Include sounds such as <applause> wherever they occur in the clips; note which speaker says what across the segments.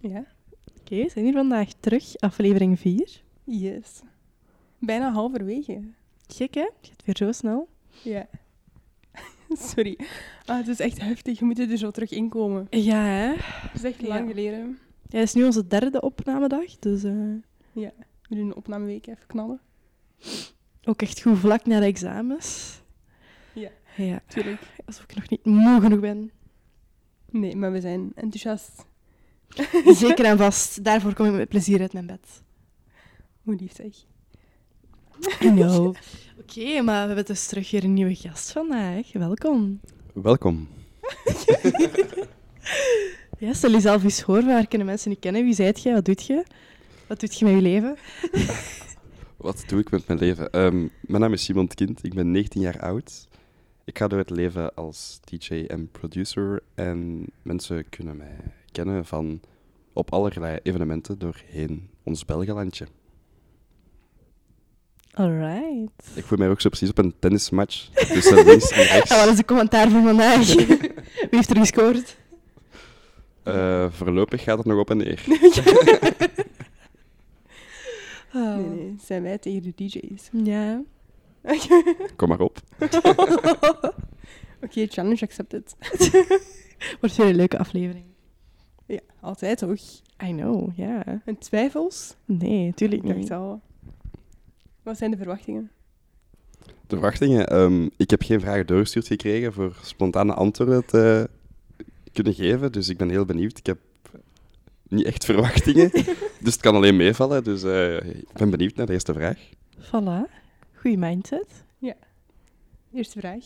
Speaker 1: Ja,
Speaker 2: Oké, we zijn hier vandaag terug, aflevering 4.
Speaker 1: yes. Bijna halverwege.
Speaker 2: Gek, hè? Het gaat weer zo snel.
Speaker 1: Ja. <laughs> Sorry. Ah, het is echt heftig. We moeten er zo terug inkomen.
Speaker 2: Ja, hè?
Speaker 1: Het is echt
Speaker 2: Ja.
Speaker 1: lang geleden.
Speaker 2: Ja, het is nu onze derde opnamedag, dus eh,
Speaker 1: We doen een opnameweek even knallen.
Speaker 2: ook echt goed vlak na de examens.
Speaker 1: Ja.
Speaker 2: Ja,
Speaker 1: Tuurlijk.
Speaker 2: alsof ik nog niet moe genoeg <laughs> ben.
Speaker 1: Nee, maar we zijn enthousiast.
Speaker 2: Zeker en vast, daarvoor kom ik met plezier uit mijn bed.
Speaker 1: Hoe lief zeg.
Speaker 2: No. <laughs> Oké, maar we hebben dus terug weer een nieuwe gast vandaag. Welkom.
Speaker 3: Welkom.
Speaker 2: Ja, stel jezelf eens voor, waar kunnen mensen niet kennen? Wie zijt je? Wat doet je? Wat doet je met je leven?
Speaker 3: Wat doe ik met mijn leven? Ehm, mijn naam is Simon Kind, ik ben 19 jaar oud. Ik ga door het leven als DJ en producer. En mensen kunnen mij kennen van op allerlei evenementen doorheen ons Belgenlandje.
Speaker 2: Alright.
Speaker 3: Ik voel mij ook zo precies op een tennismatch dus tussen links en
Speaker 2: <laughs>
Speaker 3: rechts.
Speaker 2: Ja, wat is de commentaar voor vandaag? <laughs> Wie heeft er gescoord?
Speaker 3: Eh, voorlopig gaat het nog op en neer.
Speaker 2: Oh.
Speaker 1: Nee, nee. Zijn wij tegen de DJ's.
Speaker 2: Ja.
Speaker 3: Kom maar op.
Speaker 1: <laughs> Oké, challenge accepted.
Speaker 2: Wordt weer een leuke aflevering.
Speaker 1: Ja, altijd toch?
Speaker 2: I know, ja.
Speaker 1: En twijfels?
Speaker 2: Nee, tuurlijk
Speaker 1: Ik dacht
Speaker 2: niet.
Speaker 1: al. Wat zijn de verwachtingen?
Speaker 3: De verwachtingen. ehm, ik heb geen vragen doorgestuurd gekregen voor spontane antwoorden te kunnen geven. Dus ik ben heel benieuwd. Ik heb niet echt verwachtingen. dus het kan alleen meevallen. Dus eh, ik ben benieuwd naar de eerste vraag.
Speaker 2: Voilà. Goeie mindset.
Speaker 1: Eerste vraag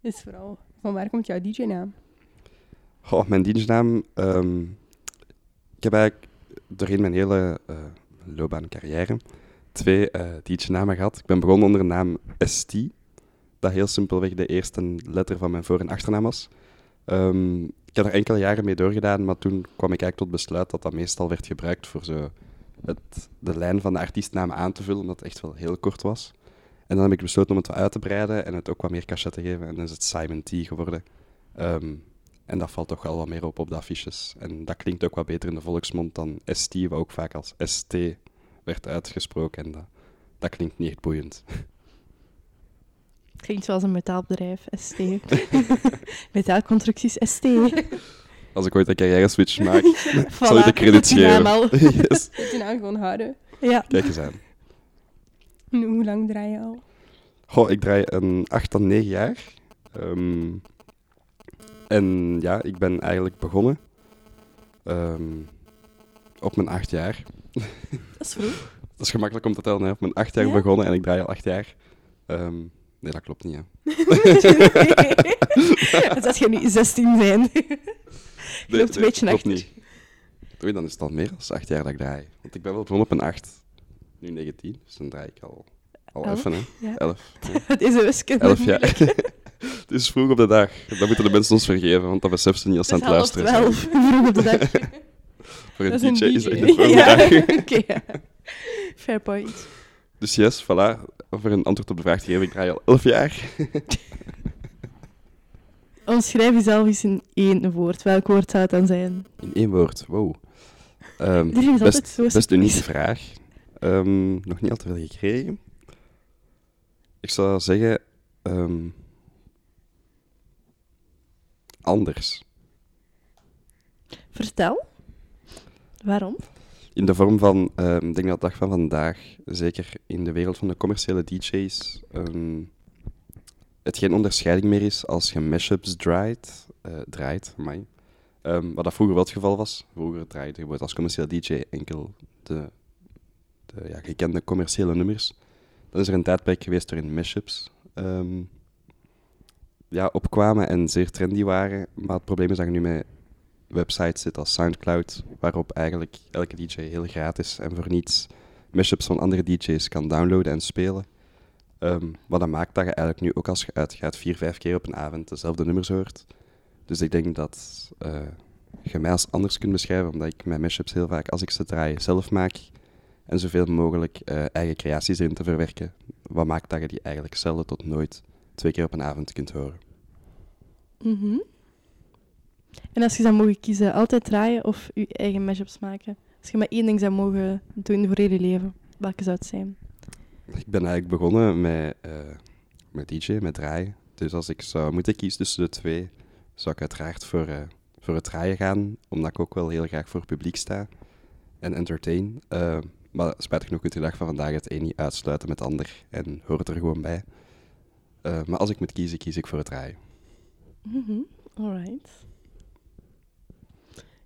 Speaker 1: is vooral, van waar komt jouw DJ-naam?
Speaker 3: Goh, mijn dienstnaam. ehm, ik heb eigenlijk doorheen mijn hele eh, loopbaan en carrière twee eh dienstnamen gehad. Ik ben begonnen onder de naam ST. Dat heel simpelweg de eerste letter van mijn voor- en achternaam was. Ehm, ik heb er enkele jaren mee doorgedaan, maar toen kwam ik eigenlijk tot besluit dat dat meestal werd gebruikt voor zo het, de lijn van de artiestnaam aan te vullen, omdat het echt wel heel kort was. En dan heb ik besloten om het wat uit te breiden en het ook wat meer cachet te geven. En dan is het Simon T geworden. Ehm, en dat valt toch wel wat meer op op de affiches. En dat klinkt ook wat beter in de volksmond dan ST, wat ook vaak als ST werd uitgesproken. En dat, dat klinkt niet echt boeiend. <laughs>
Speaker 2: Klinkt zoals een metaalbedrijf, <laughs> ST. Metaalconstructies, ST.
Speaker 3: Als ik ooit een carrière switch maak,
Speaker 2: <laughs>
Speaker 3: <laughs>
Speaker 2: Voilà.
Speaker 3: zal je de credits
Speaker 2: Met <laughs> die naam
Speaker 3: geven.
Speaker 2: al.
Speaker 3: Yes.
Speaker 1: Je hebt je naam gewoon houden.
Speaker 2: Ja.
Speaker 3: Kijk eens aan.
Speaker 1: En hoe lang draai je al?
Speaker 3: Goh, ik draai een 8 tot 9 jaar. Ehm, en ja, ik ben eigenlijk begonnen ehm, op mijn 8 jaar.
Speaker 2: Dat is vroeg. <laughs>
Speaker 3: Dat is gemakkelijk om te tellen, hè. op mijn 8 jaar
Speaker 2: Ja?
Speaker 3: begonnen en ik draai al 8 jaar. Ehm, nee, dat klopt niet. Hè.
Speaker 2: Dat als je nu 16 zijn.
Speaker 3: Nee,
Speaker 2: loopt een
Speaker 3: nee,
Speaker 2: beetje
Speaker 3: klopt
Speaker 2: achter.
Speaker 3: niet. Oei, dan is het al meer dan acht jaar dat ik draai. Want ik ben wel begonnen op een acht. Nu 19, dus dan draai ik al, al
Speaker 2: Elf,
Speaker 3: even, hè?
Speaker 2: ja. <laughs>
Speaker 3: Elf. ja.
Speaker 2: Het is een wiskunde.
Speaker 3: Elf jaar. <laughs> het is vroeg op de dag. Dat moeten de mensen ons vergeven, want dat beseffen ze niet als ze
Speaker 2: Het
Speaker 3: aan
Speaker 2: is
Speaker 3: het
Speaker 2: half
Speaker 3: luisteren zijn.
Speaker 2: twaalf. <laughs> Vroeg op de
Speaker 3: <laughs>
Speaker 2: dag.
Speaker 3: Voor een
Speaker 1: Dat is een
Speaker 3: DJ is
Speaker 1: DJ.
Speaker 3: echt de vroege
Speaker 2: <laughs> Ja,
Speaker 3: dag.
Speaker 2: oké. ja. Fair point.
Speaker 3: Dus yes, voilà. Voor een antwoord op de vraag te geven, ik draai al elf jaar.
Speaker 2: Omschrijf jezelf eens in één woord. Welk woord zou het dan zijn?
Speaker 3: In één woord, wow. Ehm,
Speaker 2: Dit is altijd
Speaker 3: best,
Speaker 2: zo
Speaker 3: best unieke
Speaker 2: surprise.
Speaker 3: vraag. Ehm, nog niet al te veel gekregen. Ik zou zeggen... ehm, anders.
Speaker 2: Vertel. Waarom?
Speaker 3: In de vorm van, ehm, ik denk dat de dag van vandaag, zeker in de wereld van de commerciële DJ's, ehm, het geen onderscheiding meer is als je mashups draait. eh, draait amai. Ehm, wat dat vroeger wel het geval was. Vroeger draaide je bijvoorbeeld als commerciële DJ enkel de, de ja, gekende commerciële nummers. Dan is er een tijdperk geweest waarin mashups ehm, ja, opkwamen en zeer trendy waren. Maar het probleem is dat je nu met websites zit als Soundcloud, waarop eigenlijk elke DJ heel gratis en voor niets mashups van andere DJ's kan downloaden en spelen. Ehm wat dat maakt dat je eigenlijk nu ook als je uitgaat vier, vijf keer op een avond dezelfde nummers hoort. Dus ik denk dat eh, je mij als anders kunt beschrijven, omdat ik mijn mashups heel vaak, als ik ze draai, zelf maak. En zoveel mogelijk eh, eigen creaties erin te verwerken. Wat maakt dat je die eigenlijk zelden tot nooit twee keer op een avond kunt horen.
Speaker 2: Mhm. En als je zou mogen kiezen, altijd draaien of je eigen mashups maken? Als je maar één ding zou mogen doen voor heel je leven, welke zou het zijn?
Speaker 3: Ik ben eigenlijk begonnen met, eh, met DJ, met draaien. Dus als ik zou moeten kiezen tussen de twee, zou ik uiteraard voor, eh, voor het draaien gaan. Omdat ik ook wel heel graag voor het publiek sta en entertain. Eh, maar spijtig genoeg kunt je de dag van vandaag het een niet uitsluiten met het ander. En hoort er gewoon bij. Eh, maar als ik moet kiezen, kies ik voor het draaien.
Speaker 2: Mhm, Alright.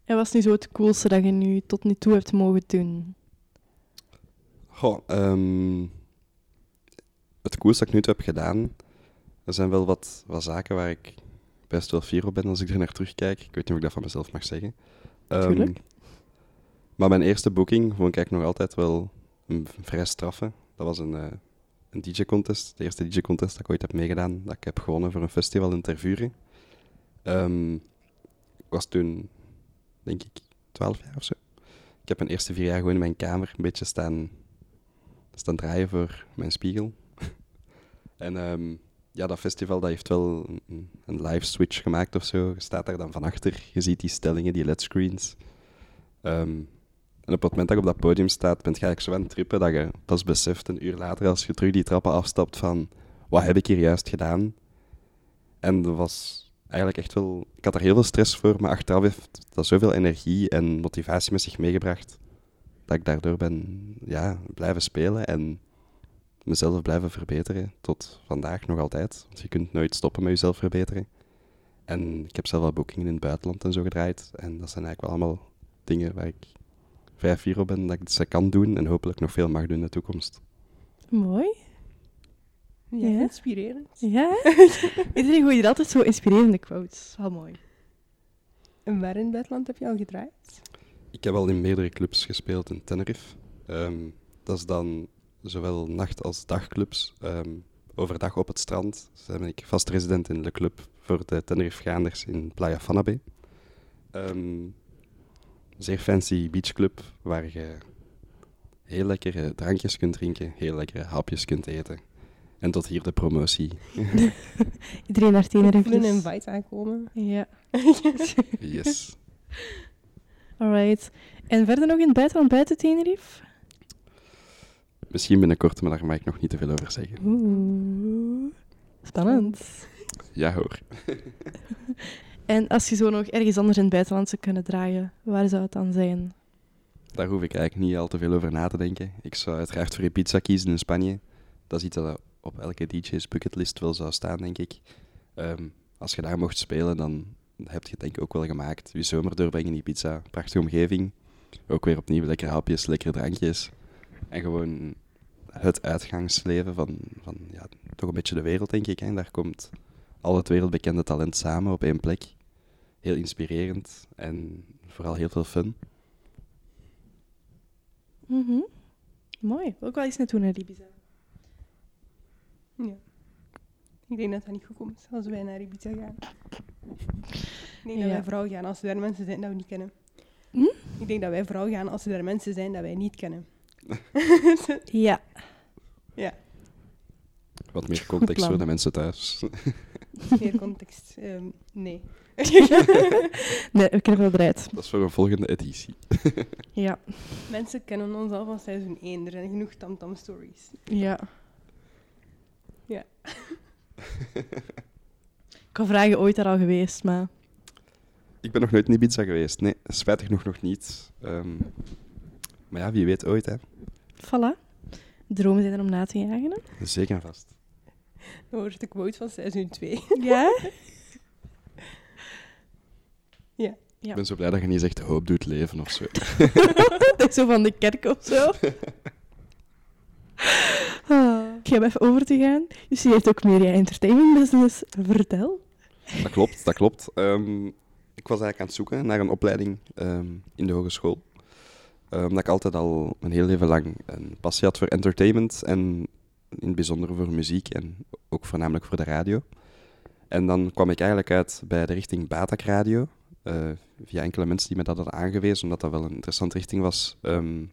Speaker 2: En wat is nu zo het coolste dat je nu tot nu toe hebt mogen doen?
Speaker 3: Goh, ehm, het koers dat ik nu toe heb gedaan, er zijn wel wat, wat zaken waar ik best wel fier op ben als ik er naar terugkijk. Ik weet niet of ik dat van mezelf mag zeggen. Ehm,
Speaker 2: Tuurlijk.
Speaker 3: maar mijn eerste boeking vond ik eigenlijk nog altijd wel een v- vrij straffe. Dat was een, eh, een DJ-contest, de eerste DJ-contest dat ik ooit heb meegedaan, dat ik heb gewonnen voor een festival in Tervuren. Ehm, ik was toen, denk ik, 12 jaar of zo. Ik heb mijn eerste vier jaar gewoon in mijn kamer een beetje staan staan draaien voor mijn spiegel. <laughs> en ehm, ja, dat festival dat heeft wel een, een live switch gemaakt of zo. Je staat daar dan van achter, je ziet die stellingen, die ledscreens. Ehm en op het moment dat je op dat podium staat, ben je eigenlijk zo aan het trippen dat je pas beseft een uur later, als je terug die trappen afstapt, van wat heb ik hier juist gedaan? En dat was eigenlijk echt wel... Ik had daar heel veel stress voor, maar achteraf heeft dat zoveel energie en motivatie met zich meegebracht dat ik daardoor ben ja, blijven spelen en mezelf blijven verbeteren. Tot vandaag nog altijd. Want je kunt nooit stoppen met jezelf verbeteren. En ik heb zelf al boekingen in het buitenland en zo gedraaid. En dat zijn eigenlijk wel allemaal dingen waar ik vrij fier op ben dat ik ze kan doen en hopelijk nog veel mag doen in de toekomst.
Speaker 2: Mooi.
Speaker 1: Ja,
Speaker 2: Ja.
Speaker 1: inspirerend. <laughs>
Speaker 2: Ja. hè? Iedereen gooit hier altijd zo inspirerende quotes. Wel mooi.
Speaker 1: En waar in het buitenland heb je al gedraaid?
Speaker 3: Ik heb al in meerdere clubs gespeeld in Tenerife. Ehm, dat is dan zowel nacht- als dagclubs. Ehm, overdag op het strand dus dan ben ik vast resident in de club voor de Tenerife-gaanders in Playa Fanabe. Ehm, zeer fancy beachclub waar je heel lekkere drankjes kunt drinken, heel lekkere hapjes kunt eten. En tot hier de promotie.
Speaker 2: Iedereen naar
Speaker 1: Ik
Speaker 2: Tenerife.
Speaker 1: voel een
Speaker 2: dus.
Speaker 1: invite aankomen.
Speaker 2: Ja.
Speaker 1: <laughs>
Speaker 3: Yes.
Speaker 2: Alright. En verder nog in het buitenland buiten Tenerife?
Speaker 3: Misschien binnenkort, maar daar mag ik nog niet te veel over zeggen.
Speaker 2: Oeh. Spannend.
Speaker 3: Ja hoor.
Speaker 2: En als je zo nog ergens anders in het buitenland zou kunnen draaien, waar zou het dan zijn?
Speaker 3: Daar hoef ik eigenlijk niet al te veel over na te denken. Ik zou uiteraard voor pizza kiezen in Spanje. Dat is iets dat op elke DJ's bucketlist wel zou staan, denk ik. Ehm, als je daar mocht spelen, dan heb je het denk ik ook wel gemaakt. Je zomer doorbrengen in pizza, prachtige omgeving. Ook weer opnieuw lekkere hapjes, lekkere drankjes. En gewoon het uitgangsleven van, van ja, toch een beetje de wereld, denk ik. Hè. Daar komt al het wereldbekende talent samen op één plek. Heel inspirerend en vooral heel veel fun.
Speaker 2: Mhm. Mooi. Ook wel eens naartoe naar Ibiza.
Speaker 1: Ja. Ik denk dat dat niet goed komt als wij naar Ibiza gaan. Ik denk
Speaker 2: Ja.
Speaker 1: dat wij vooral gaan als er daar mensen zijn dat we niet kennen.
Speaker 2: Hm?
Speaker 1: Ik denk dat wij vooral gaan als er daar mensen zijn dat wij niet <laughs> kennen.
Speaker 2: <laughs> Ja.
Speaker 3: Wat meer
Speaker 2: Goed
Speaker 3: context
Speaker 2: plan.
Speaker 3: voor de mensen thuis. <laughs>
Speaker 1: Meer context. ehm, nee.
Speaker 2: Nee, we kunnen wel bereid.
Speaker 3: Dat is voor een volgende editie. <laughs>
Speaker 2: Ja.
Speaker 1: Mensen kennen ons al van seizoen 1. Er zijn genoeg tamtam stories.
Speaker 2: Ja.
Speaker 1: Ja.
Speaker 2: Ik kan vragen ooit daar al geweest, maar...
Speaker 3: Ik ben nog nooit in Ibiza geweest. Nee, spijtig genoeg nog niet. Ehm, maar ja, wie weet ooit, hè.
Speaker 2: Voilà. Dromen zijn er om na te jagen. hè?
Speaker 3: Zeker en vast.
Speaker 1: Dat wordt de quote van seizoen 2.
Speaker 2: Ja? Ja.
Speaker 3: Ik ben zo blij dat je niet zegt hoop doet leven of zo.
Speaker 2: <laughs> Dat is zo van de kerk of zo. Ah. Ik ga even over te gaan. Je studeert ook media entertainment business. Vertel.
Speaker 3: Dat klopt, dat klopt. Ehm, ik was eigenlijk aan het zoeken naar een opleiding ehm, in de hogeschool. Eh, Omdat ik altijd al een heel leven lang een passie had voor entertainment en in het bijzonder voor muziek en ook voornamelijk voor de radio. En dan kwam ik eigenlijk uit bij de richting Batak Radio, eh, via enkele mensen die me dat hadden aangewezen, omdat dat wel een interessante richting was. ehm,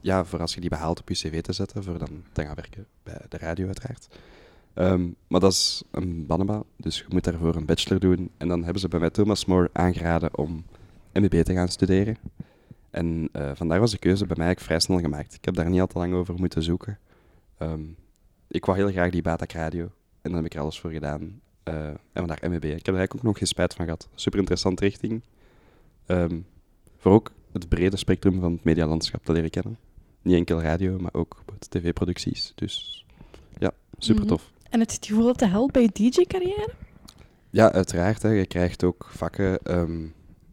Speaker 3: ja, voor als je die behaalt op je cv te zetten, voor dan te gaan werken bij de radio uiteraard. Ehm, maar dat is een banaba, dus je moet daarvoor een bachelor doen. En dan hebben ze bij mij Thomas More aangeraden om MBB te gaan studeren. En eh, vandaar was de keuze bij mij eigenlijk vrij snel gemaakt. Ik heb daar niet al te lang over moeten zoeken. Ehm, ik wou heel graag die Batak Radio. En daar heb ik er alles voor gedaan. Eh, en vandaar MBB. Ik heb er eigenlijk ook nog geen spijt van gehad. Super interessante richting. Ehm, voor ook het brede spectrum van het medialandschap te leren kennen. Niet enkel radio, maar ook wat tv-producties. Dus ja, super tof.
Speaker 2: En het gevoel dat te helpt bij je DJ-carrière?
Speaker 3: Ja, uiteraard. Hè. Je krijgt ook vakken ehm,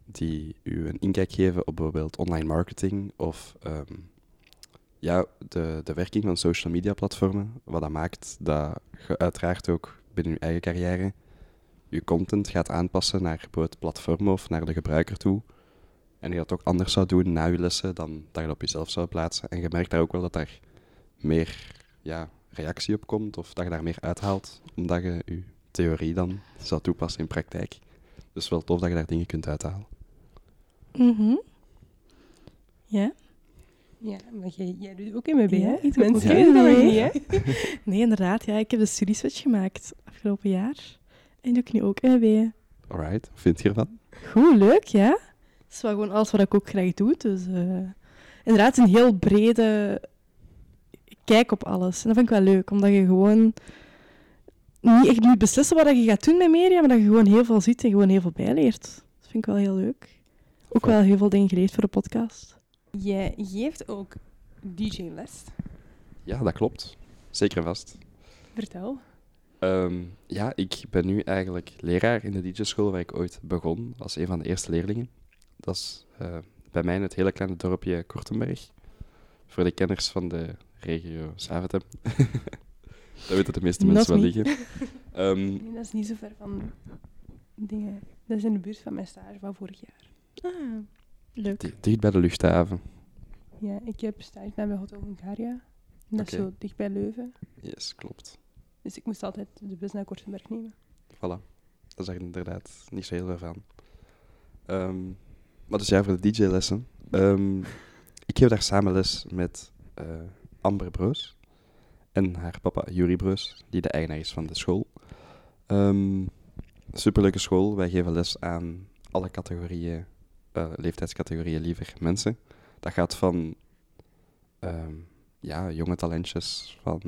Speaker 3: die u een inkijk geven op bijvoorbeeld online marketing of ehm, ja, de, de werking van social media platformen. Wat dat maakt dat je uiteraard ook binnen je eigen carrière je content gaat aanpassen naar bijvoorbeeld het platform of naar de gebruiker toe. En je dat ook anders zou doen na je lessen dan dat je dat op jezelf zou plaatsen. En je merkt daar ook wel dat daar meer ja, reactie op komt of dat je daar meer uithaalt omdat je je theorie dan zou toepassen in praktijk. Dus wel tof dat je daar dingen kunt uithalen.
Speaker 2: Mhm. Ja?
Speaker 1: Ja, maar jij, jij doet ook MBB,
Speaker 2: Ja,
Speaker 1: hè?
Speaker 2: ik doe ook
Speaker 1: Mensen kennen dat nog
Speaker 2: MBB.
Speaker 1: niet, hè?
Speaker 2: Nee, inderdaad. Ja, ik heb de studieswitch gemaakt afgelopen jaar. En doe ik nu ook MBA.
Speaker 3: Alright, wat vind je ervan?
Speaker 2: Goed, leuk, ja. Dat is wel gewoon alles wat ik ook graag doe. Dus eh, inderdaad, een heel brede kijk op alles. En dat vind ik wel leuk, omdat je gewoon niet echt moet beslissen wat je gaat doen met media, maar dat je gewoon heel veel ziet en gewoon heel veel bijleert. Dat vind ik wel heel leuk. Ook wel heel veel dingen geleerd voor de podcast.
Speaker 1: Jij geeft ook DJ-les.
Speaker 3: Ja, dat klopt. Zeker en vast.
Speaker 1: Vertel.
Speaker 3: Ehm, ja, ik ben nu eigenlijk leraar in de DJ-school waar ik ooit begon, als een van de eerste leerlingen. Dat is eh, bij mij in het hele kleine dorpje Kortenberg. Voor de kenners van de regio Zaventem. <laughs> dat weten de meeste
Speaker 2: Not
Speaker 3: mensen wel
Speaker 2: me.
Speaker 3: liggen.
Speaker 2: <laughs>
Speaker 3: Ehm,
Speaker 1: Nee, dat is niet zo ver van dingen. Dat is in de buurt van mijn stage van vorig jaar.
Speaker 2: Ah, leuk.
Speaker 3: di- dicht bij de luchthaven.
Speaker 1: Ja, ik heb stage gedaan bij Hotel Hungaria. En dat is
Speaker 3: Oké.
Speaker 1: zo dicht bij Leuven.
Speaker 3: Yes, klopt.
Speaker 1: Dus ik moest altijd de bus naar Kortenberg
Speaker 2: <laughs>
Speaker 1: nemen.
Speaker 3: Voilà. Dat is er inderdaad niet zo heel veel van. Ehm, maar dus ja, voor de DJ-lessen. Ehm, ik geef daar samen les met eh, Amber Broos en haar papa Jurie Broos, die de eigenaar is van de school. Ehm, superleuke school. Wij geven les aan alle categorieën, eh, leeftijdscategorieën liever, mensen. Dat gaat van ehm, ja, jonge talentjes van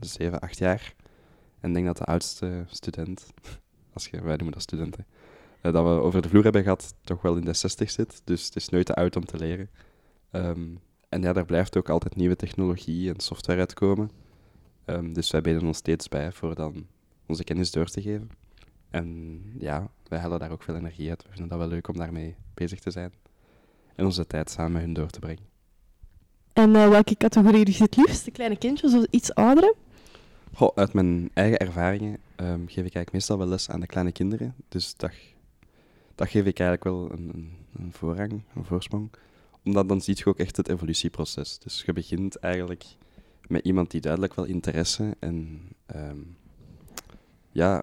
Speaker 3: 7, 8 jaar. En ik denk dat de oudste student als je, wij noemen dat studenten, eh, dat we over de vloer hebben gehad, toch wel in de 60 zit. Dus het is nooit te oud om te leren. Ehm, en ja, daar blijft ook altijd nieuwe technologie en software uitkomen. Ehm, dus wij benen ons steeds bij voor dan onze kennis door te geven. En ja, wij halen daar ook veel energie uit. We vinden dat wel leuk om daarmee bezig te zijn. En onze tijd samen met hun door te brengen.
Speaker 2: En eh, welke categorie doe je het liefst? De kleine kindjes of de iets oudere?
Speaker 3: Goh, uit mijn eigen ervaringen ehm, geef ik eigenlijk meestal wel les aan de kleine kinderen. Dus dat, dat geef ik eigenlijk wel een, een, een voorrang, een voorsprong. Omdat dan zie je ook echt het evolutieproces. Dus je begint eigenlijk met iemand die duidelijk wel interesse en ehm, ja,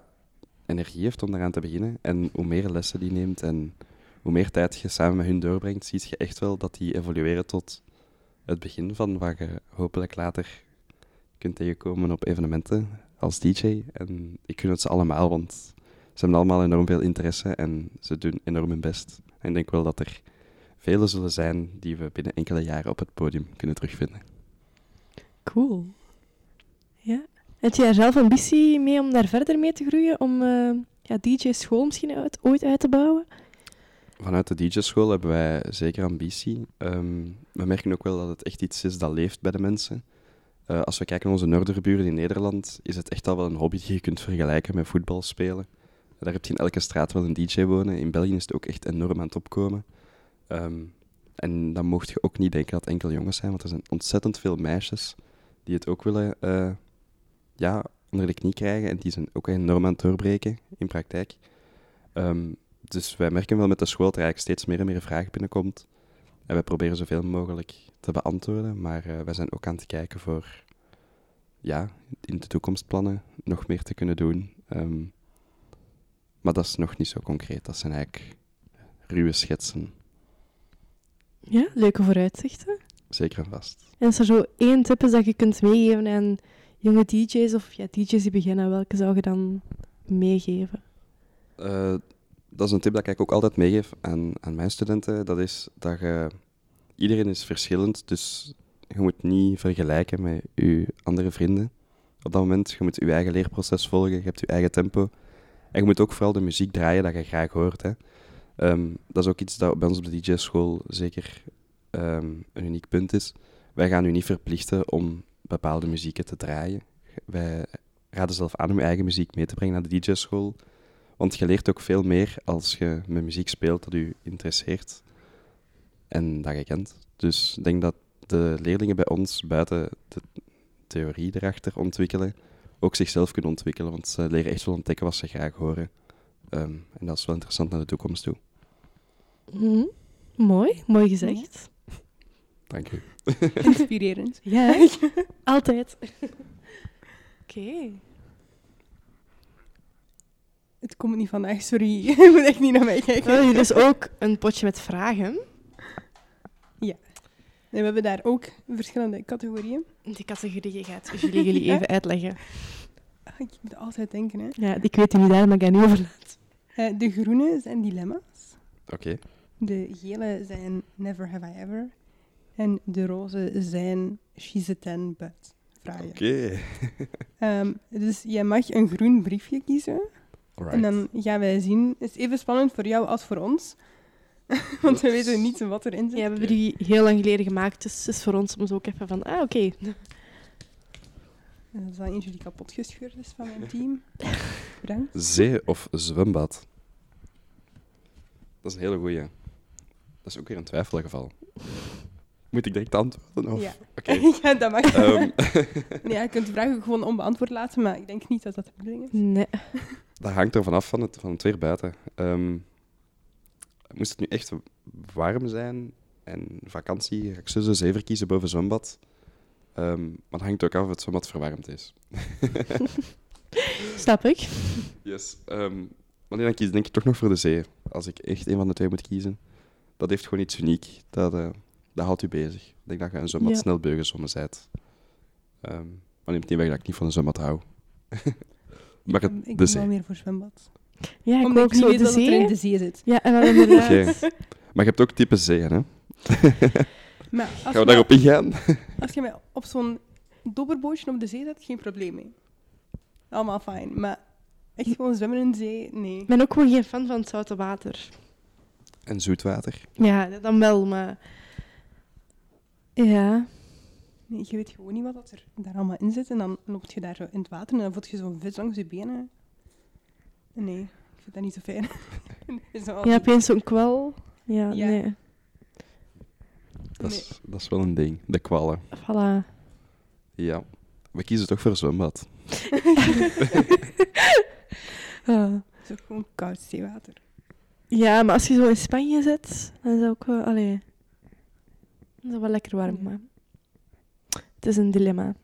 Speaker 3: energie heeft om daaraan te beginnen. En hoe meer lessen die neemt en hoe meer tijd je samen met hun doorbrengt, zie je echt wel dat die evolueren tot het begin van wat je hopelijk later kunt tegenkomen op evenementen als DJ. En ik gun het ze allemaal, want ze hebben allemaal enorm veel interesse en ze doen enorm hun best. En ik denk wel dat er vele zullen zijn die we binnen enkele jaren op het podium kunnen terugvinden.
Speaker 2: Cool. Ja. Heb jij zelf ambitie mee om daar verder mee te groeien? Om eh, ja, DJ-school misschien uit, ooit uit te bouwen?
Speaker 3: Vanuit de DJ-school hebben wij zeker ambitie. Ehm, we merken ook wel dat het echt iets is dat leeft bij de mensen. Eh, als we kijken naar onze noorderburen in Nederland, is het echt al wel een hobby die je kunt vergelijken met voetbal spelen. Daar heb je in elke straat wel een DJ wonen. In België is het ook echt enorm aan het opkomen. Ehm, en dan mocht je ook niet denken dat het enkel jongens zijn, want er zijn ontzettend veel meisjes die het ook willen eh, ja, onder de knie krijgen. En die zijn ook enorm aan het doorbreken in praktijk. Ehm, dus wij merken wel met de school dat er eigenlijk steeds meer en meer vraag binnenkomt. En wij proberen zoveel mogelijk te beantwoorden, maar eh, wij zijn ook aan het kijken voor ja, in de toekomstplannen nog meer te kunnen doen. Ehm, maar dat is nog niet zo concreet. Dat zijn eigenlijk ruwe schetsen,
Speaker 2: Ja, leuke vooruitzichten.
Speaker 3: zeker en vast.
Speaker 2: En als er zo één tip is dat je kunt meegeven aan jonge DJ's of ja, DJ's die beginnen, welke zou je dan meegeven?
Speaker 3: Eh, dat is een tip dat ik eigenlijk ook altijd meegeef aan, aan mijn studenten. Dat is dat je... Iedereen is verschillend, dus je moet niet vergelijken met je andere vrienden. Op dat moment, je moet je eigen leerproces volgen, je hebt je eigen tempo. En je moet ook vooral de muziek draaien dat je graag hoort. Hè. Ehm, dat is ook iets dat bij ons op de DJ-school zeker ehm, een uniek punt is. Wij gaan u niet verplichten om bepaalde muzieken te draaien. Wij raden zelf aan om je eigen muziek mee te brengen naar de DJ-school. Want je leert ook veel meer als je met muziek speelt dat u interesseert en dat je kent. Dus ik denk dat de leerlingen bij ons buiten de theorie erachter ontwikkelen, ook zichzelf kunnen ontwikkelen. Want ze leren echt wel ontdekken wat ze graag horen. Ehm, en dat is wel interessant naar de toekomst toe.
Speaker 2: Mhm. Mooi, mooi gezegd.
Speaker 3: Dank u. <laughs>
Speaker 1: Inspirerend.
Speaker 2: Ja, hè? <laughs> altijd. Oké.
Speaker 1: Het komt niet vandaag, sorry. <laughs> Je moet echt niet naar mij kijken.
Speaker 2: Wel, hier is dus ook een potje met vragen.
Speaker 1: Nee, we hebben daar ook verschillende categorieën.
Speaker 2: Die categorie gaat jullie, jullie even uitleggen.
Speaker 1: Ah, Ik moet altijd denken, hè.
Speaker 2: Ja, ik weet het niet, daarom heb ik daar niet over laat.
Speaker 1: Eh, de groene zijn dilemma's.
Speaker 3: Oké.
Speaker 1: De gele zijn never have I ever. En de roze zijn she's a ten, but vragen.
Speaker 3: <laughs>
Speaker 1: Ehm, dus jij mag een groen briefje kiezen. En dan gaan wij zien. Het is even spannend voor jou als voor ons. <laughs> Want we
Speaker 3: Oeps.
Speaker 1: weten niet wat erin zit.
Speaker 2: Ja, we hebben die heel lang geleden gemaakt, dus het is voor ons soms ook even van, ah, oké.
Speaker 1: En Dat is al eentje die kapot gescheurd is van mijn
Speaker 3: <laughs>
Speaker 1: team. Bedankt.
Speaker 3: Zee of zwembad? Dat is een hele goeie. Dat is ook weer een twijfelgeval. Moet ik direct antwoorden? Of?
Speaker 1: Ja.
Speaker 3: Oké.
Speaker 1: <laughs> ja, dat mag.
Speaker 3: Ehm,
Speaker 1: Nee, ja, je kunt de vraag ook gewoon onbeantwoord laten, maar ik denk niet dat dat de bedoeling is.
Speaker 2: Nee.
Speaker 3: dat hangt er vanaf van het, van het weer buiten. Ehm, moest het nu echt warm zijn en vakantie, ga ik sowieso zee verkiezen boven zwembad. Ehm, maar het hangt ook af of het zwembad verwarmd is.
Speaker 2: Snap ik.
Speaker 3: Yes. ehm, maar nee, dan kies denk ik toch nog voor de zee. Als ik echt een van de twee moet kiezen. Dat heeft gewoon iets uniek. Dat, eh, dat houdt u bezig. Ik denk dat je een zwembad
Speaker 2: Ja.
Speaker 3: snel beugenzommen bent. Ehm, maar neemt niet weg dat ik niet van een zwembad hou. <laughs> maar het,
Speaker 1: Ik
Speaker 3: de
Speaker 1: ben wel
Speaker 3: zee.
Speaker 1: meer voor zwembad.
Speaker 2: Ja, ik
Speaker 1: Omdat
Speaker 2: ook
Speaker 1: ik niet
Speaker 2: zo
Speaker 1: weet
Speaker 2: de
Speaker 1: wat er in
Speaker 2: zee.
Speaker 1: de zee zit.
Speaker 2: Ja, en wel inderdaad.
Speaker 3: Maar je hebt ook type zeeën, hè?
Speaker 1: Maar als,
Speaker 3: Gaan we
Speaker 1: je mij,
Speaker 3: daarop ingaan?
Speaker 1: als je mij op zo'n dobberbootje op de zee zet, geen probleem mee. Allemaal fijn, maar echt gewoon zwemmen in de zee, nee.
Speaker 2: Ik ben ook gewoon geen fan van het zoute water.
Speaker 3: En zoetwater.
Speaker 2: Ja, dat dan wel, maar... Ja.
Speaker 1: nee. Je weet gewoon niet wat dat er daar allemaal in zit en dan loopt je daar zo in het water en dan voelt je zo'n vis langs je benen. Nee, ik vind dat niet zo fijn. <laughs> Is dat wel
Speaker 2: Ja,
Speaker 1: niet-
Speaker 2: opeens zo'n kwal. Oh. Ja,
Speaker 1: Ja.
Speaker 2: nee.
Speaker 3: Dat is, dat is wel een ding. De kwallen.
Speaker 2: Voilà.
Speaker 3: Ja. We kiezen toch voor een
Speaker 1: <laughs>
Speaker 3: zwembad.
Speaker 2: Ah.
Speaker 1: Het is ook gewoon koud zeewater.
Speaker 2: Ja, maar als je zo in Spanje zit, dan is dat ook wel... Allee. Dat is dat wel lekker warm,
Speaker 1: Ja.
Speaker 2: maar... Het is een dilemma.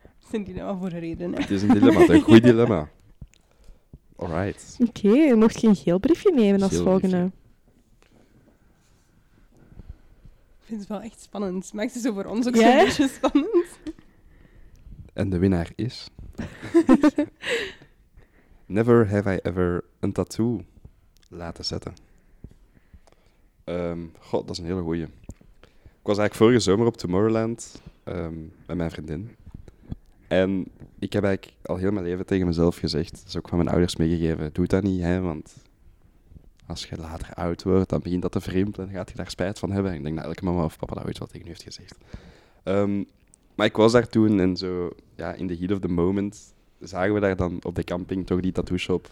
Speaker 1: Dat zijn die nou voor een reden, hè?
Speaker 3: Het is een dilemma. het is Een goed dilemma. Alright.
Speaker 2: Oké, je mocht geen geel briefje nemen als
Speaker 3: Geel
Speaker 2: volgende.
Speaker 1: <laughs> Ik vind het wel echt spannend. Het maakt het zo voor ons ook
Speaker 2: Ja,
Speaker 1: zo'n
Speaker 2: hè?
Speaker 1: beetje spannend.
Speaker 3: En de winnaar is. Never have I ever een tattoo laten zetten. Ehm, god, dat is een hele goeie. Ik was eigenlijk vorige zomer op Tomorrowland ehm, met mijn vriendin. En ik heb eigenlijk al heel mijn leven tegen mezelf gezegd, dat is ook van mijn ouders meegegeven, doe dat niet, hè, want als je later oud wordt, dan begint dat te verrimpelen en dan gaat je daar spijt van hebben. En ik denk dat elke mama of papa dat ooit wel tegen u heeft gezegd. Ehm, maar ik was daar toen en zo, ja, in the heat of the moment, zagen we daar dan op de camping toch die tattoo shop.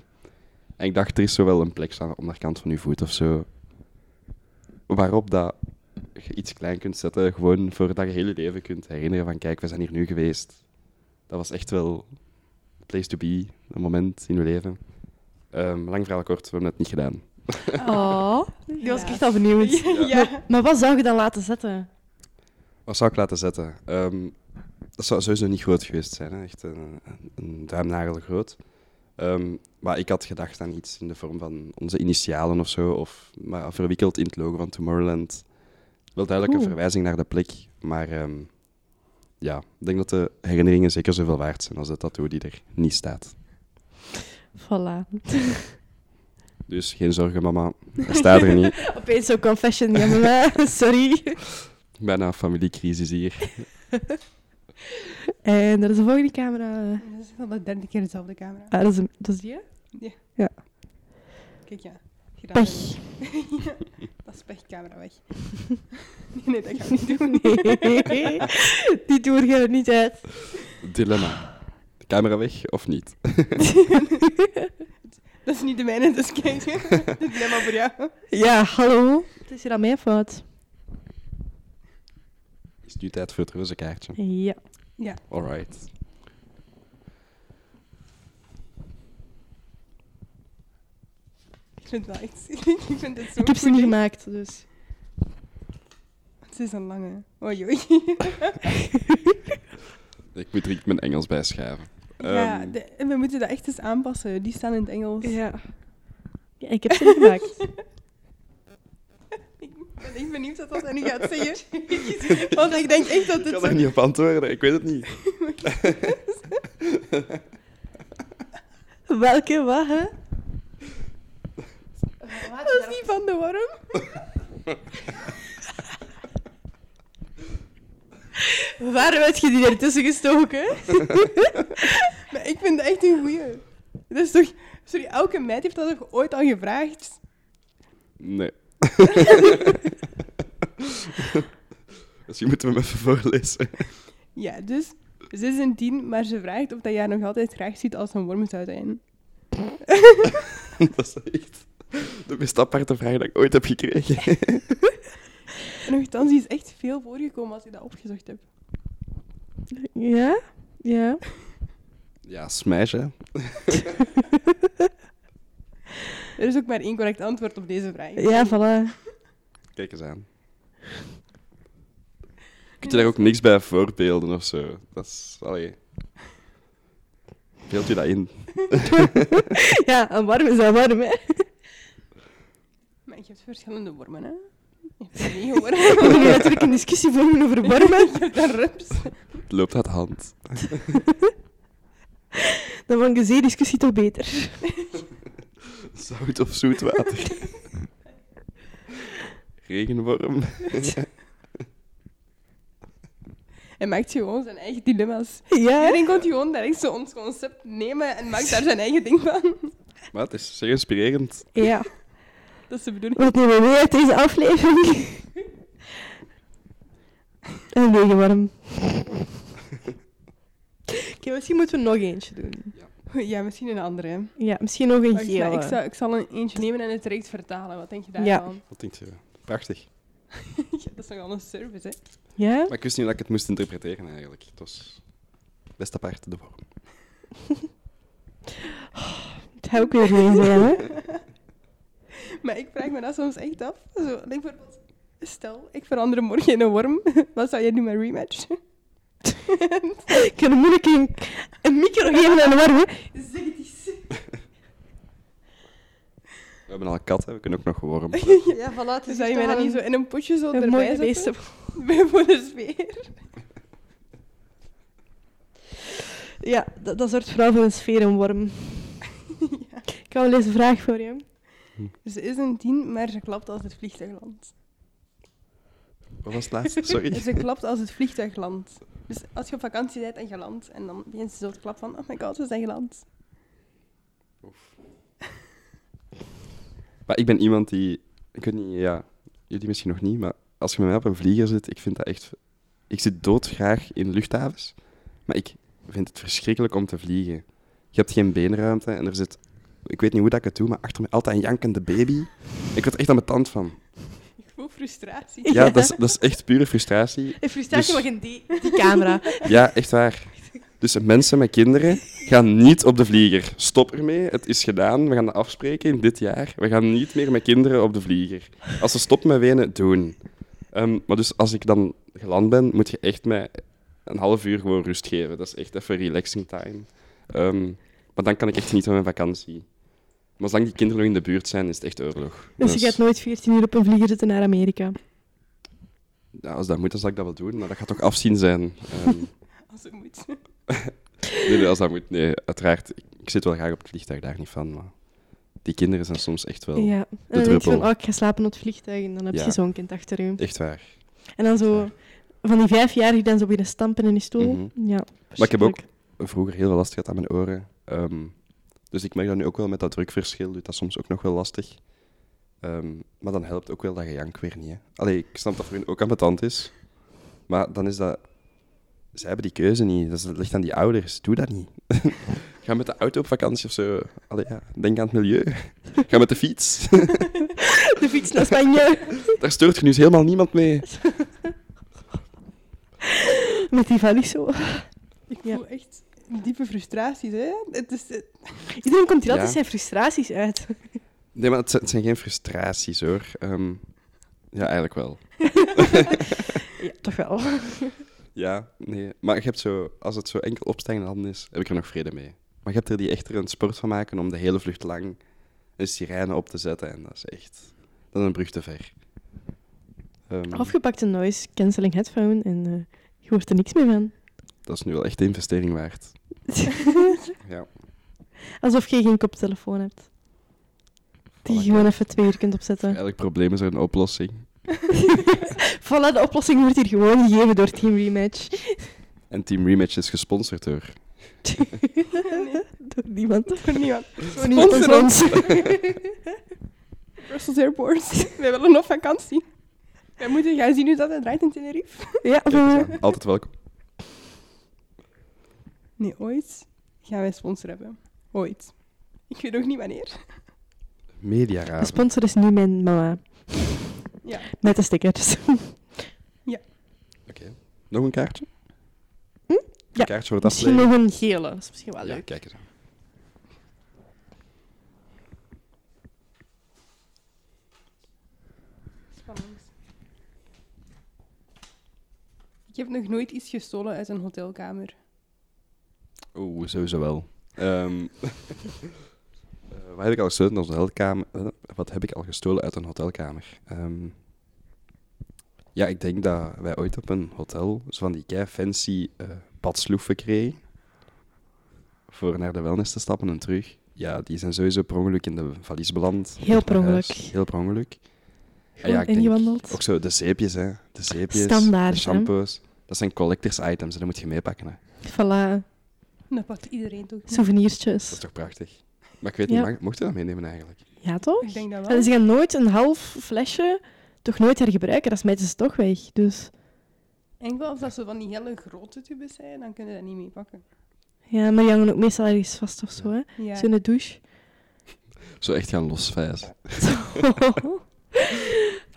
Speaker 3: En ik dacht, er is zo wel een plek aan de onderkant van uw voet of zo. Waarop dat je iets klein kunt zetten, gewoon voordat je hele leven kunt herinneren van, kijk, we zijn hier nu geweest. Dat was echt wel the place to be, een moment in uw leven. Ehm, lang verhaal kort, we hebben het niet gedaan.
Speaker 2: Oh, die was ik
Speaker 1: Ja.
Speaker 2: echt al benieuwd. Maar, maar wat zou je dan laten zetten?
Speaker 3: Wat zou ik laten zetten? Ehm, dat zou sowieso niet groot geweest zijn. Hè? Echt een, een, een duimnagel groot. Ehm, maar ik had gedacht aan iets in de vorm van onze initialen of zo. Of, maar verwikkeld in het logo van Tomorrowland. Wel duidelijk een
Speaker 2: Oeh.
Speaker 3: verwijzing naar de plek. Maar ehm, ja, ik denk dat de herinneringen zeker zoveel waard zijn als de tattoo die er niet staat.
Speaker 2: Voilà.
Speaker 3: Dus geen zorgen, mama. Hij staat
Speaker 2: <laughs>
Speaker 3: er niet.
Speaker 2: Opeens zo'n confession, ja, mama. <laughs> Sorry.
Speaker 3: Bijna een familiecrisis hier.
Speaker 2: En dat is de volgende camera.
Speaker 1: Dat is al de derde keer dezelfde camera.
Speaker 2: Ah, dat, is, dat is die, hè? <laughs>
Speaker 1: Kijk, ja. Gedaan.
Speaker 2: Pech.
Speaker 1: <laughs> Ja, dat is pechcamera weg. <laughs> Nee, nee, dat gaan we niet doen.
Speaker 2: Nee. Die toer gaan we niet uit.
Speaker 3: Dilemma. De camera weg of niet?
Speaker 1: Dat is niet de mijne, dus kijk. <laughs> Dit is helemaal voor jou.
Speaker 2: Ja, hallo. Het is hier aan mijn fout.
Speaker 3: Is het nu tijd voor het rozenkaartje?
Speaker 2: Ja.
Speaker 3: Alright.
Speaker 1: Ik vind het wel echt <laughs> zielig. Ik vind het zo
Speaker 2: Ik heb ze
Speaker 1: goed.
Speaker 2: niet gemaakt, dus...
Speaker 1: Het is een lange. Oei,
Speaker 3: <laughs>
Speaker 1: oei.
Speaker 3: Ik moet er iets mijn Engels bij schuiven.
Speaker 1: Ja,
Speaker 3: Ehm,
Speaker 1: de- en we moeten dat echt eens aanpassen. Die staan in het Engels. <laughs>
Speaker 2: Ja. Ik heb ze niet gemaakt.
Speaker 1: Ik ben echt benieuwd wat dat nu gaat zeggen. Want <laughs> ik denk echt dat
Speaker 3: Ik
Speaker 1: dit
Speaker 3: kan
Speaker 1: zo...
Speaker 3: er niet op antwoorden, ik weet het niet.
Speaker 2: Welke, wat, hè?
Speaker 1: Dat is niet van de worm.
Speaker 2: Waarom heb je die ertussen gestoken?
Speaker 1: <laughs> Maar ik vind dat echt een goeie. Dat is toch... Sorry, elke meid heeft dat toch ooit al gevraagd? <laughs>
Speaker 3: Nee. Misschien moeten we hem even voorlezen. <laughs>
Speaker 1: Ja, dus ze is een tien, maar ze vraagt of dat jij haar nog altijd graag ziet als een worm zou zijn.
Speaker 3: Dat is echt de meest aparte vraag die ik ooit heb gekregen.
Speaker 1: En nogthans, die is echt veel voorgekomen als ik dat opgezocht heb.
Speaker 2: <laughs> Ja? Ja.
Speaker 3: Ja, smash, hè.
Speaker 1: Er is ook maar één correct antwoord op deze vraag.
Speaker 2: Ja, voilà.
Speaker 3: Kijk eens aan. Kun je daar ook niks bij voorbeelden of zo? Dat is... Allee. Beeld je dat in?
Speaker 2: <laughs> Ja, een warm is een warm, hè?
Speaker 1: Maar je hebt verschillende wormen, hè? Je hebt negen wormen.
Speaker 2: <laughs>
Speaker 1: <laughs>
Speaker 2: We gaan nu natuurlijk een discussie voeren over warmen.
Speaker 1: Je hebt een rups.
Speaker 3: Het loopt uit de hand.
Speaker 2: Dan vond ik de zeediscussie toch beter. <laughs>
Speaker 3: Zout of zoet water?
Speaker 1: <laughs>
Speaker 3: Regenworm.
Speaker 1: Hij maakt gewoon zijn eigen dilemma's.
Speaker 2: Ja?
Speaker 1: Iedereen komt gewoon direct zo ons concept nemen en maakt daar zijn eigen ding van.
Speaker 3: Maar het is zeer inspirerend.
Speaker 2: Ja.
Speaker 1: Dat is de bedoeling.
Speaker 2: Wat nemen we mee uit deze aflevering? <laughs> Een regenworm. Oké, misschien moeten we nog eentje doen.
Speaker 1: <laughs> Ja, misschien een andere. hè.
Speaker 2: Ja, misschien nog een
Speaker 1: Wacht, maar
Speaker 2: gele.
Speaker 1: ik, zal, ik zal een eentje nemen en het direct vertalen. Wat denk je daarvan? <laughs>
Speaker 2: Ja.
Speaker 3: Wat denk je? Prachtig.
Speaker 1: Ja, dat is nogal een service, hè? <laughs>
Speaker 2: Ja?
Speaker 3: Maar ik wist niet dat ik het moest interpreteren eigenlijk. Het was best apart, de vorm.
Speaker 2: Het gaat ook weer geen zijn, hè?
Speaker 1: Maar ik vraag me dat soms echt af. Zo, like bijvoorbeeld, stel, ik verander morgen in een worm. <laughs> Wat zou jij doen met rematch?
Speaker 2: <laughs> Ik kan moeilijk een, een micro geven aan de warm, hè?
Speaker 1: Zeg het eens.
Speaker 3: We hebben al een kat, hè. we kunnen ook nog worm.
Speaker 2: <laughs>
Speaker 3: <laughs>
Speaker 2: Ja, voilà.
Speaker 1: Dus zou je mij dan niet zo in een potje zo
Speaker 2: een
Speaker 1: erbij
Speaker 2: mooie
Speaker 1: zetten? <laughs>
Speaker 2: beesten.
Speaker 1: Bij voor de sfeer.
Speaker 2: Ja, dat, dat zorgt vooral voor een sfeer en warm. <laughs> Ik hou wel eens een vraag voor je.
Speaker 1: Ze is een tien, maar ze klapt als het vliegtuig landt.
Speaker 3: Wat was het laatste? Ah,
Speaker 1: <laughs>
Speaker 3: Sorry.
Speaker 1: Ze klapt als het vliegtuig landt. Dus als je op vakantie bent en je landt, en dan begint ze zo te klappen van, oh my god, we zijn geland.
Speaker 3: Maar ik ben iemand die... Ik weet niet, ja... Jullie misschien nog niet, maar als je met mij op een vlieger zit, ik vind dat echt... Ik zit doodgraag in luchthavens, maar ik vind het verschrikkelijk om te vliegen. Je hebt geen beenruimte en er zit... Ik weet niet hoe dat ik het doe, maar achter me altijd een jankende baby. Ik word echt aan mijn tand van.
Speaker 1: Ik voel frustratie.
Speaker 3: Ja, dat is, dat is echt pure frustratie.
Speaker 2: In frustratie
Speaker 3: Dus-
Speaker 2: mag in die, die <laughs> camera.
Speaker 3: Ja, echt waar. Dus mensen met kinderen gaan niet op de vlieger. Stop ermee, het is gedaan. We gaan dat afspreken in dit jaar. We gaan niet meer met kinderen op de vlieger. Als ze stoppen met wenen, doen. Ehm, maar dus als ik dan geland ben, moet je echt mij een half uur gewoon rust geven. Dat is echt even relaxing time. Ehm, maar dan kan ik echt genieten van mijn vakantie. Maar zolang die kinderen nog in de buurt zijn, is het echt oorlog. Dus
Speaker 2: Dus je gaat nooit 14 uur op een vlieger zitten naar Amerika.
Speaker 3: ja, als dat moet, dan zal ik dat wel doen. Maar dat gaat toch afzien zijn. Ehm,
Speaker 1: Als het moet.
Speaker 3: nee, nee, als dat moet. Nee, uiteraard. Ik, ik zit wel graag op het vliegtuig, daar niet van. Maar die kinderen zijn soms echt wel...
Speaker 2: Ja. En dan denk je
Speaker 3: druppel.
Speaker 2: van, oh, ik ga slapen op het vliegtuig. En dan heb
Speaker 3: Ja.
Speaker 2: je zo'n kind achter je.
Speaker 3: Echt waar.
Speaker 2: En dan zo... Van die vijfjarigen die dan zo beginnen stampen in die stoel.
Speaker 3: Mhm.
Speaker 2: Ja,
Speaker 3: Maar ik heb ook
Speaker 2: verschrikkelijk.
Speaker 3: vroeger heel veel last gehad aan mijn oren. Ehm, dus ik merk dat nu ook wel met dat drukverschil. Doet dat soms ook nog wel lastig. Ehm, maar dan helpt ook wel dat gejank weer niet. Hè. Allee, ik snap dat voor hun ook ambetant is. Maar dan is dat... Zij hebben die keuze niet. Dat is- dat ligt aan die ouders. Doe dat niet. <laughs> Ga met de auto op vakantie of zo. Allee, ja. Denk aan het milieu. <laughs> Ga met de fiets. <laughs>
Speaker 2: <laughs> De fiets naar Spanje.
Speaker 3: Daar stoort je nu eens helemaal niemand mee.
Speaker 2: Met die valies zo.
Speaker 1: Ik
Speaker 2: Ja.
Speaker 1: voel echt diepe frustraties, hè. Het is... eh,
Speaker 2: Iedereen komt hier altijd
Speaker 3: Ja.
Speaker 2: zijn frustraties uit.
Speaker 3: Nee, maar het zijn, het zijn geen frustraties hoor. Ehm, ja, eigenlijk wel.
Speaker 2: <laughs> Ja, toch wel.
Speaker 3: <laughs> Ja, nee. Maar je hebt zo, als het zo enkel opstijgende handen is, heb ik er nog vrede mee. Maar je hebt er die echt er een sport van maken om de hele vlucht lang een sirene op te zetten. En dat is echt. Dan een brug te ver. Ehm,
Speaker 2: Afgepakte noise cancelling headphone en eh, je hoort er niks meer
Speaker 3: <laughs>
Speaker 2: van.
Speaker 3: dat is nu wel echt de investering waard. Ja.
Speaker 2: Alsof je geen koptelefoon hebt. Die je gewoon even twee uur kunt opzetten.
Speaker 3: Elk probleem is er een oplossing.
Speaker 2: Voilà, de oplossing wordt hier gewoon gegeven door Team Rematch.
Speaker 3: En Team Rematch is gesponsord door.
Speaker 2: <laughs> <laughs>
Speaker 1: <laughs>
Speaker 2: Nee, door niemand.
Speaker 1: Voor niemand.
Speaker 2: Door niemand
Speaker 1: Sponsor
Speaker 2: dan ons. <laughs>
Speaker 1: Brussels Airport. <laughs> Wij willen nog vakantie. Wij moeten gaan zien hoe dat het draait in Tenerife.
Speaker 2: Ja,
Speaker 3: Kijk eens
Speaker 2: we-
Speaker 3: aan. Altijd welkom.
Speaker 1: Nee, ooit gaan wij sponsor hebben. Ooit. Ik weet ook niet wanneer.
Speaker 2: de
Speaker 3: Mediaraad.
Speaker 2: sponsor is nu mijn mama.
Speaker 1: Ja.
Speaker 2: Met de dus stickers.
Speaker 3: <laughs> Oké. Nog een kaartje?
Speaker 2: Hm? Ja.
Speaker 3: Een kaartje voor het
Speaker 2: Misschien
Speaker 3: afleggen.
Speaker 2: nog een gele. Dat is misschien wel
Speaker 3: Ja,
Speaker 2: leuk.
Speaker 3: kijk eens aan.
Speaker 1: Ik heb nog nooit iets gestolen uit een hotelkamer.
Speaker 3: Oeh, sowieso wel. Ehm <laughs> eh, wat heb ik al gestolen uit een hotelkamer? eh, wat heb ik al gestolen uit een hotelkamer? Ehm, ja, ik denk dat wij ooit op een hotel zo van die kei fancy eh badsloeven kregen. Voor naar de wellness te stappen en terug. Ja, die zijn sowieso per ongeluk in de valies beland.
Speaker 2: Heel
Speaker 3: op weg
Speaker 2: per
Speaker 3: naar
Speaker 2: ongeluk.
Speaker 3: huis. Heel per ongeluk. En
Speaker 2: Gewoon
Speaker 3: ja, ik denk
Speaker 2: ingewandeld.
Speaker 3: Ook zo de zeepjes, hè. De zeepjes,
Speaker 2: Standaard,
Speaker 3: de
Speaker 2: hè.
Speaker 3: shampoos. Dat zijn collectors items en dat moet je meepakken, hè.
Speaker 2: Voilà.
Speaker 1: Dat pakt iedereen toch? niet?
Speaker 3: Dat is
Speaker 2: Souvenirtjes.
Speaker 3: toch prachtig? Maar ik weet
Speaker 2: Ja.
Speaker 3: niet, mag- mocht je dat meenemen eigenlijk?
Speaker 2: Ja, toch?
Speaker 1: Ik denk dat wel.
Speaker 2: En ze gaan nooit een half flesje toch nooit hergebruiken. Dat smijten ze toch weg. Dus
Speaker 1: Enkel als dat ze van die hele grote tubes zijn, dan kunnen we dat niet mee pakken.
Speaker 2: ja, maar die hangen ook meestal ergens vast of zo. Hè?
Speaker 1: Ja.
Speaker 2: Zo in de
Speaker 3: <laughs>
Speaker 2: douche.
Speaker 3: Zo echt gaan losvijzen.
Speaker 2: Oh.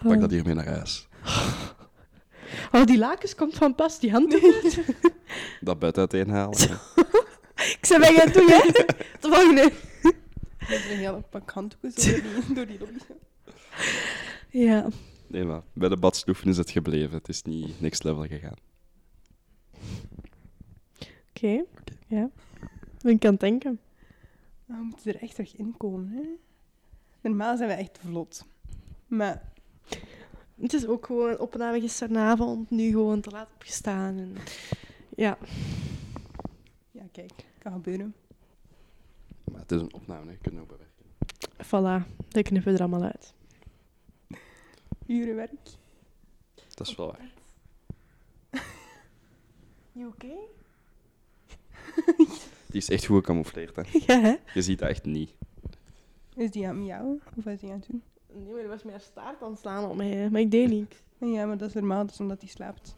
Speaker 3: Pak dat hier mee naar huis.
Speaker 2: Oh, die lakens komt van pas, die hand. eruit.
Speaker 1: <laughs>
Speaker 3: Dat buiten uiteenhalen.
Speaker 2: <laughs> Ik zei, wij gaan het doen, hè?
Speaker 1: <laughs>
Speaker 2: De volgende.
Speaker 1: Met een hele pak handdoeken zo door die, door die <laughs> lobby.
Speaker 2: Ja.
Speaker 3: Nee, maar bij de badsloeven is het gebleven. Het is niet next level gegaan.
Speaker 2: Oké. Ja. Ik kan denken.
Speaker 1: Maar Ah, we moeten er echt terug in komen. Hè? Normaal zijn we echt vlot. Maar
Speaker 2: Het is ook gewoon opname gisteravond, nu gewoon te laat opgestaan. En... Ja.
Speaker 1: ja, kijk, kan gebeuren.
Speaker 3: Maar het is een opname, hè. je kunt het ook bewerken.
Speaker 2: Voilà, dat knippen we er allemaal uit.
Speaker 1: Uren werk.
Speaker 3: Dat is wel waar.
Speaker 2: <laughs> You okay?
Speaker 3: Die is echt goed gecamoufleerd. Hè.
Speaker 2: <laughs> Ja, hè?
Speaker 3: Je ziet dat echt niet.
Speaker 1: Is die aan het miauwen? Of wat is die aan het doen?
Speaker 2: Nee, maar die was met haar staart aan het slaan op mij, hè. maar ik deed niks.
Speaker 1: En ja, maar dat is normaal, dat is omdat hij slaapt.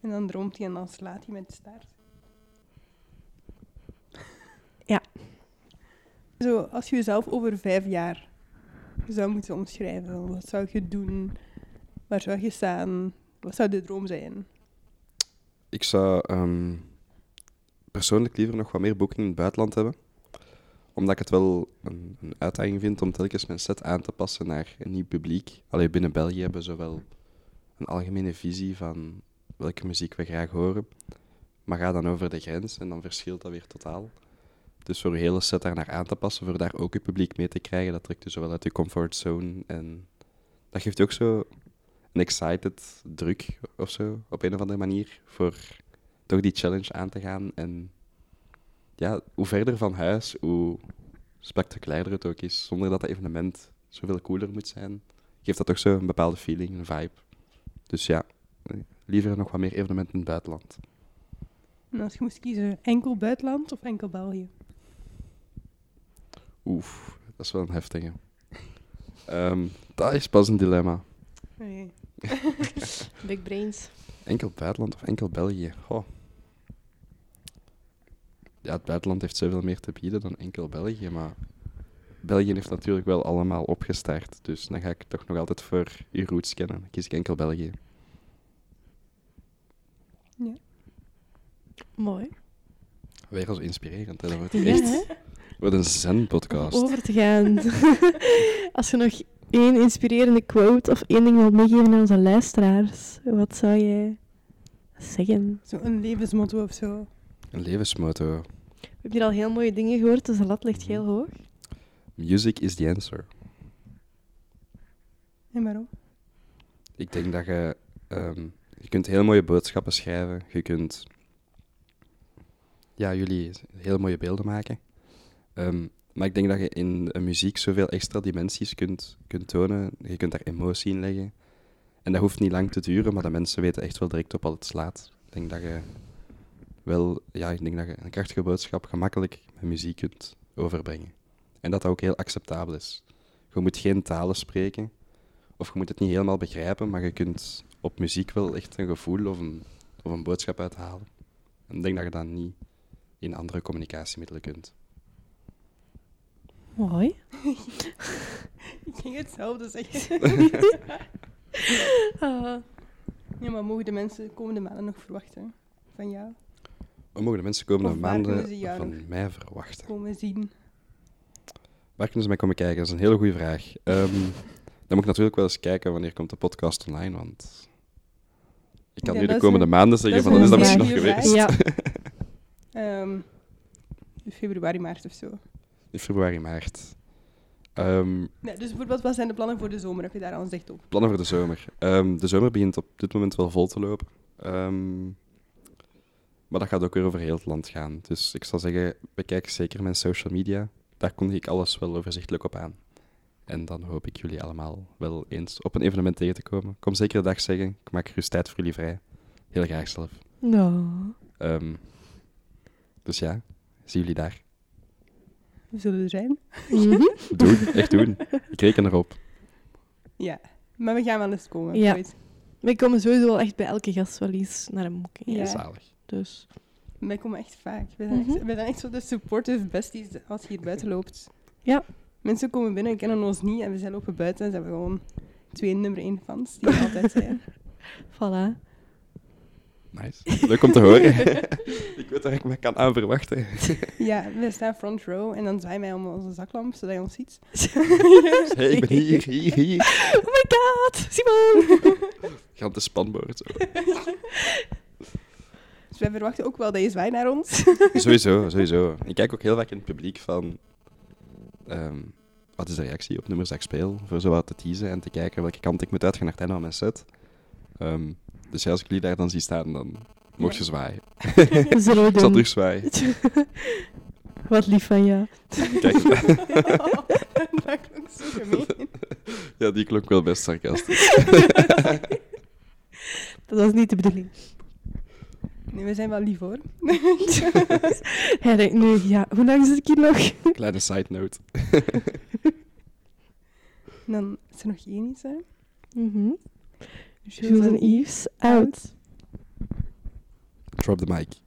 Speaker 1: En dan droomt hij en dan slaat hij met de <laughs> staart.
Speaker 2: Ja.
Speaker 1: Zo, als je jezelf over vijf jaar zou moeten omschrijven, dan wat zou je doen? Waar zou je staan? Wat zou de droom zijn?
Speaker 3: Ik zou ehm, persoonlijk liever nog wat meer boeken in het buitenland hebben. Omdat ik het wel een, een uitdaging vind om telkens mijn set aan te passen naar een nieuw publiek. Alleen binnen België hebben ze wel een algemene visie van welke muziek we graag horen. Maar ga dan over de grens en dan verschilt dat weer totaal. Dus voor je hele set daar naar aan te passen, voor daar ook je publiek mee te krijgen, dat trekt je zo wel uit je comfortzone. En dat geeft je ook zo een excited druk of zo, op een of andere manier, voor toch die challenge aan te gaan. En ja, hoe verder van huis, hoe spectaculairder het ook is, zonder dat dat evenement zoveel cooler moet zijn, geeft dat toch zo een bepaalde feeling, een vibe. Dus ja, liever nog wat meer evenementen in het buitenland.
Speaker 1: En als je moest kiezen, enkel buitenland of enkel België?
Speaker 3: Oef, dat is wel een heftige. Ehm, dat is pas een dilemma.
Speaker 1: Nee.
Speaker 2: Big brains.
Speaker 3: Enkel buitenland of enkel België? Goh. Ja, het buitenland heeft zoveel meer te bieden dan enkel België, maar België heeft natuurlijk wel allemaal opgestart. Dus dan ga ik toch nog altijd voor uw roots kennen. Dan kies ik enkel België.
Speaker 2: Mooi.
Speaker 3: Weer als inspirerend. Hè?
Speaker 2: <laughs>
Speaker 3: Dat wordt
Speaker 2: Ja,
Speaker 3: echt...
Speaker 2: hè?
Speaker 3: Wat een
Speaker 2: Om
Speaker 3: zen-podcast.
Speaker 2: over te gaan. <laughs> Als je nog één inspirerende quote of één ding wilt meegeven aan onze luisteraars, wat zou jij zeggen?
Speaker 1: Zo'n levensmotto of zo.
Speaker 3: Een levensmotto.
Speaker 2: We hebben hier al heel mooie dingen gehoord, dus de lat ligt heel hoog.
Speaker 3: Music is the answer.
Speaker 1: En waarom?
Speaker 3: Ik denk dat je... ehm, je kunt heel mooie boodschappen schrijven. Je kunt... Ja, jullie heel mooie beelden maken. Ehm, maar ik denk dat je in een muziek zoveel extra dimensies kunt, kunt tonen. Je kunt daar emotie in leggen. En dat hoeft niet lang te duren, maar de mensen weten echt wel direct op wat het slaat. Ik denk dat je wel... Ja, ik denk dat je een krachtige boodschap gemakkelijk met muziek kunt overbrengen. En dat dat ook heel acceptabel is. Je moet geen talen spreken of je moet het niet helemaal begrijpen, maar je kunt op muziek wel echt een gevoel of een, of een boodschap uithalen. En ik denk dat je dat niet in andere communicatiemiddelen kunt.
Speaker 2: Mooi.
Speaker 1: Ik ging hetzelfde zeggen. <laughs>
Speaker 2: Ah,
Speaker 1: ja, maar mogen de mensen de komende maanden nog verwachten van jou?
Speaker 3: Wat mogen de mensen komende
Speaker 1: Of waar kunnen ze
Speaker 3: maanden
Speaker 1: jou
Speaker 3: van
Speaker 1: nog
Speaker 3: mij verwachten?
Speaker 1: Komen zien.
Speaker 3: Waar kunnen ze mij komen kijken? Dat is een hele goede vraag. Ehm, <laughs> dan moet ik natuurlijk wel eens kijken wanneer komt de podcast online, want ik kan
Speaker 1: Ja,
Speaker 3: nu
Speaker 1: dat
Speaker 3: de
Speaker 1: is
Speaker 3: komende
Speaker 1: een-
Speaker 3: maanden zeggen
Speaker 2: dat
Speaker 3: van
Speaker 2: is
Speaker 3: dan is
Speaker 2: een
Speaker 3: dat misschien nog
Speaker 1: goede vraag.
Speaker 3: geweest.
Speaker 2: Ja,
Speaker 3: <laughs>
Speaker 1: Ehm, februari, maart of zo.
Speaker 3: In februari, maart. Ehm,
Speaker 1: Nee, dus bijvoorbeeld, wat zijn de plannen voor de zomer? Heb je daar al een zicht op?
Speaker 3: Plannen voor de zomer. Ehm, de zomer begint op dit moment wel vol te lopen. Ehm, maar dat gaat ook weer over heel het land gaan. Dus ik zal zeggen, bekijk zeker mijn social media. Daar kondig ik alles wel overzichtelijk op aan. En dan hoop ik jullie allemaal wel eens op een evenement tegen te komen. Kom zeker de dag zeggen. Ik maak gerust tijd voor jullie vrij. Heel graag zelf.
Speaker 2: nou,
Speaker 3: Ehm, dus ja, zie jullie daar.
Speaker 1: We zullen er zijn.
Speaker 2: Mhm.
Speaker 3: Doen, echt doen. Ik reken erop.
Speaker 1: Ja. Maar we gaan wel eens komen.
Speaker 2: Ja.
Speaker 1: ooit.
Speaker 2: Wij komen sowieso wel echt bij elke gast wel eens naar een moeking.
Speaker 1: Ja.
Speaker 3: Zalig.
Speaker 2: Dus
Speaker 1: Wij komen echt vaak. We zijn,
Speaker 2: Mhm.
Speaker 1: echt, wij zijn echt zo de supportive besties als je hier buiten loopt.
Speaker 2: Ja.
Speaker 1: Mensen komen binnen, kennen ons niet en we zijn lopen buiten en ze hebben gewoon twee nummer één fans die er altijd zijn.
Speaker 2: voilà.
Speaker 3: Nice. Leuk om te horen. <laughs> ik weet waar ik me kan aan verwachten.
Speaker 1: Ja, we staan front row en dan zwaaien wij om onze zaklamp zodat je ons ziet.
Speaker 3: <laughs> Hey, ik ben hier, hier, hier.
Speaker 2: Oh my god, Simon!
Speaker 3: <laughs> Gaat de spanboord. zo.
Speaker 1: Dus wij verwachten ook wel dat je zwaait naar ons.
Speaker 3: <laughs> sowieso, sowieso. Ik kijk ook heel vaak in het publiek van... ehm, wat is de reactie op nummers dat ik speel? Voor zo wat te teasen en te kijken welke kant ik moet uitgaan naar het einde van mijn set. Ehm, dus ja, als ik jullie daar dan zie staan, dan mocht je zwaaien.
Speaker 2: Dat zullen we
Speaker 3: Ik zal
Speaker 2: doen.
Speaker 3: terug zwaaien.
Speaker 2: <laughs> Wat lief van
Speaker 3: <laughs>
Speaker 2: jou.
Speaker 3: Kijk,
Speaker 1: <laughs> dat klonk zo gemeen.
Speaker 3: ja, die klonk wel best sarcastisch.
Speaker 2: Dat was niet de bedoeling.
Speaker 1: Nee, we zijn wel lief hoor.
Speaker 2: Hij denkt nu, ja, hoe lang zit ik hier nog?
Speaker 3: Kleine side note.
Speaker 1: En dan is er nog één iets, hè?
Speaker 2: Mhm. Jules en Yves, out.
Speaker 3: Drop the mic.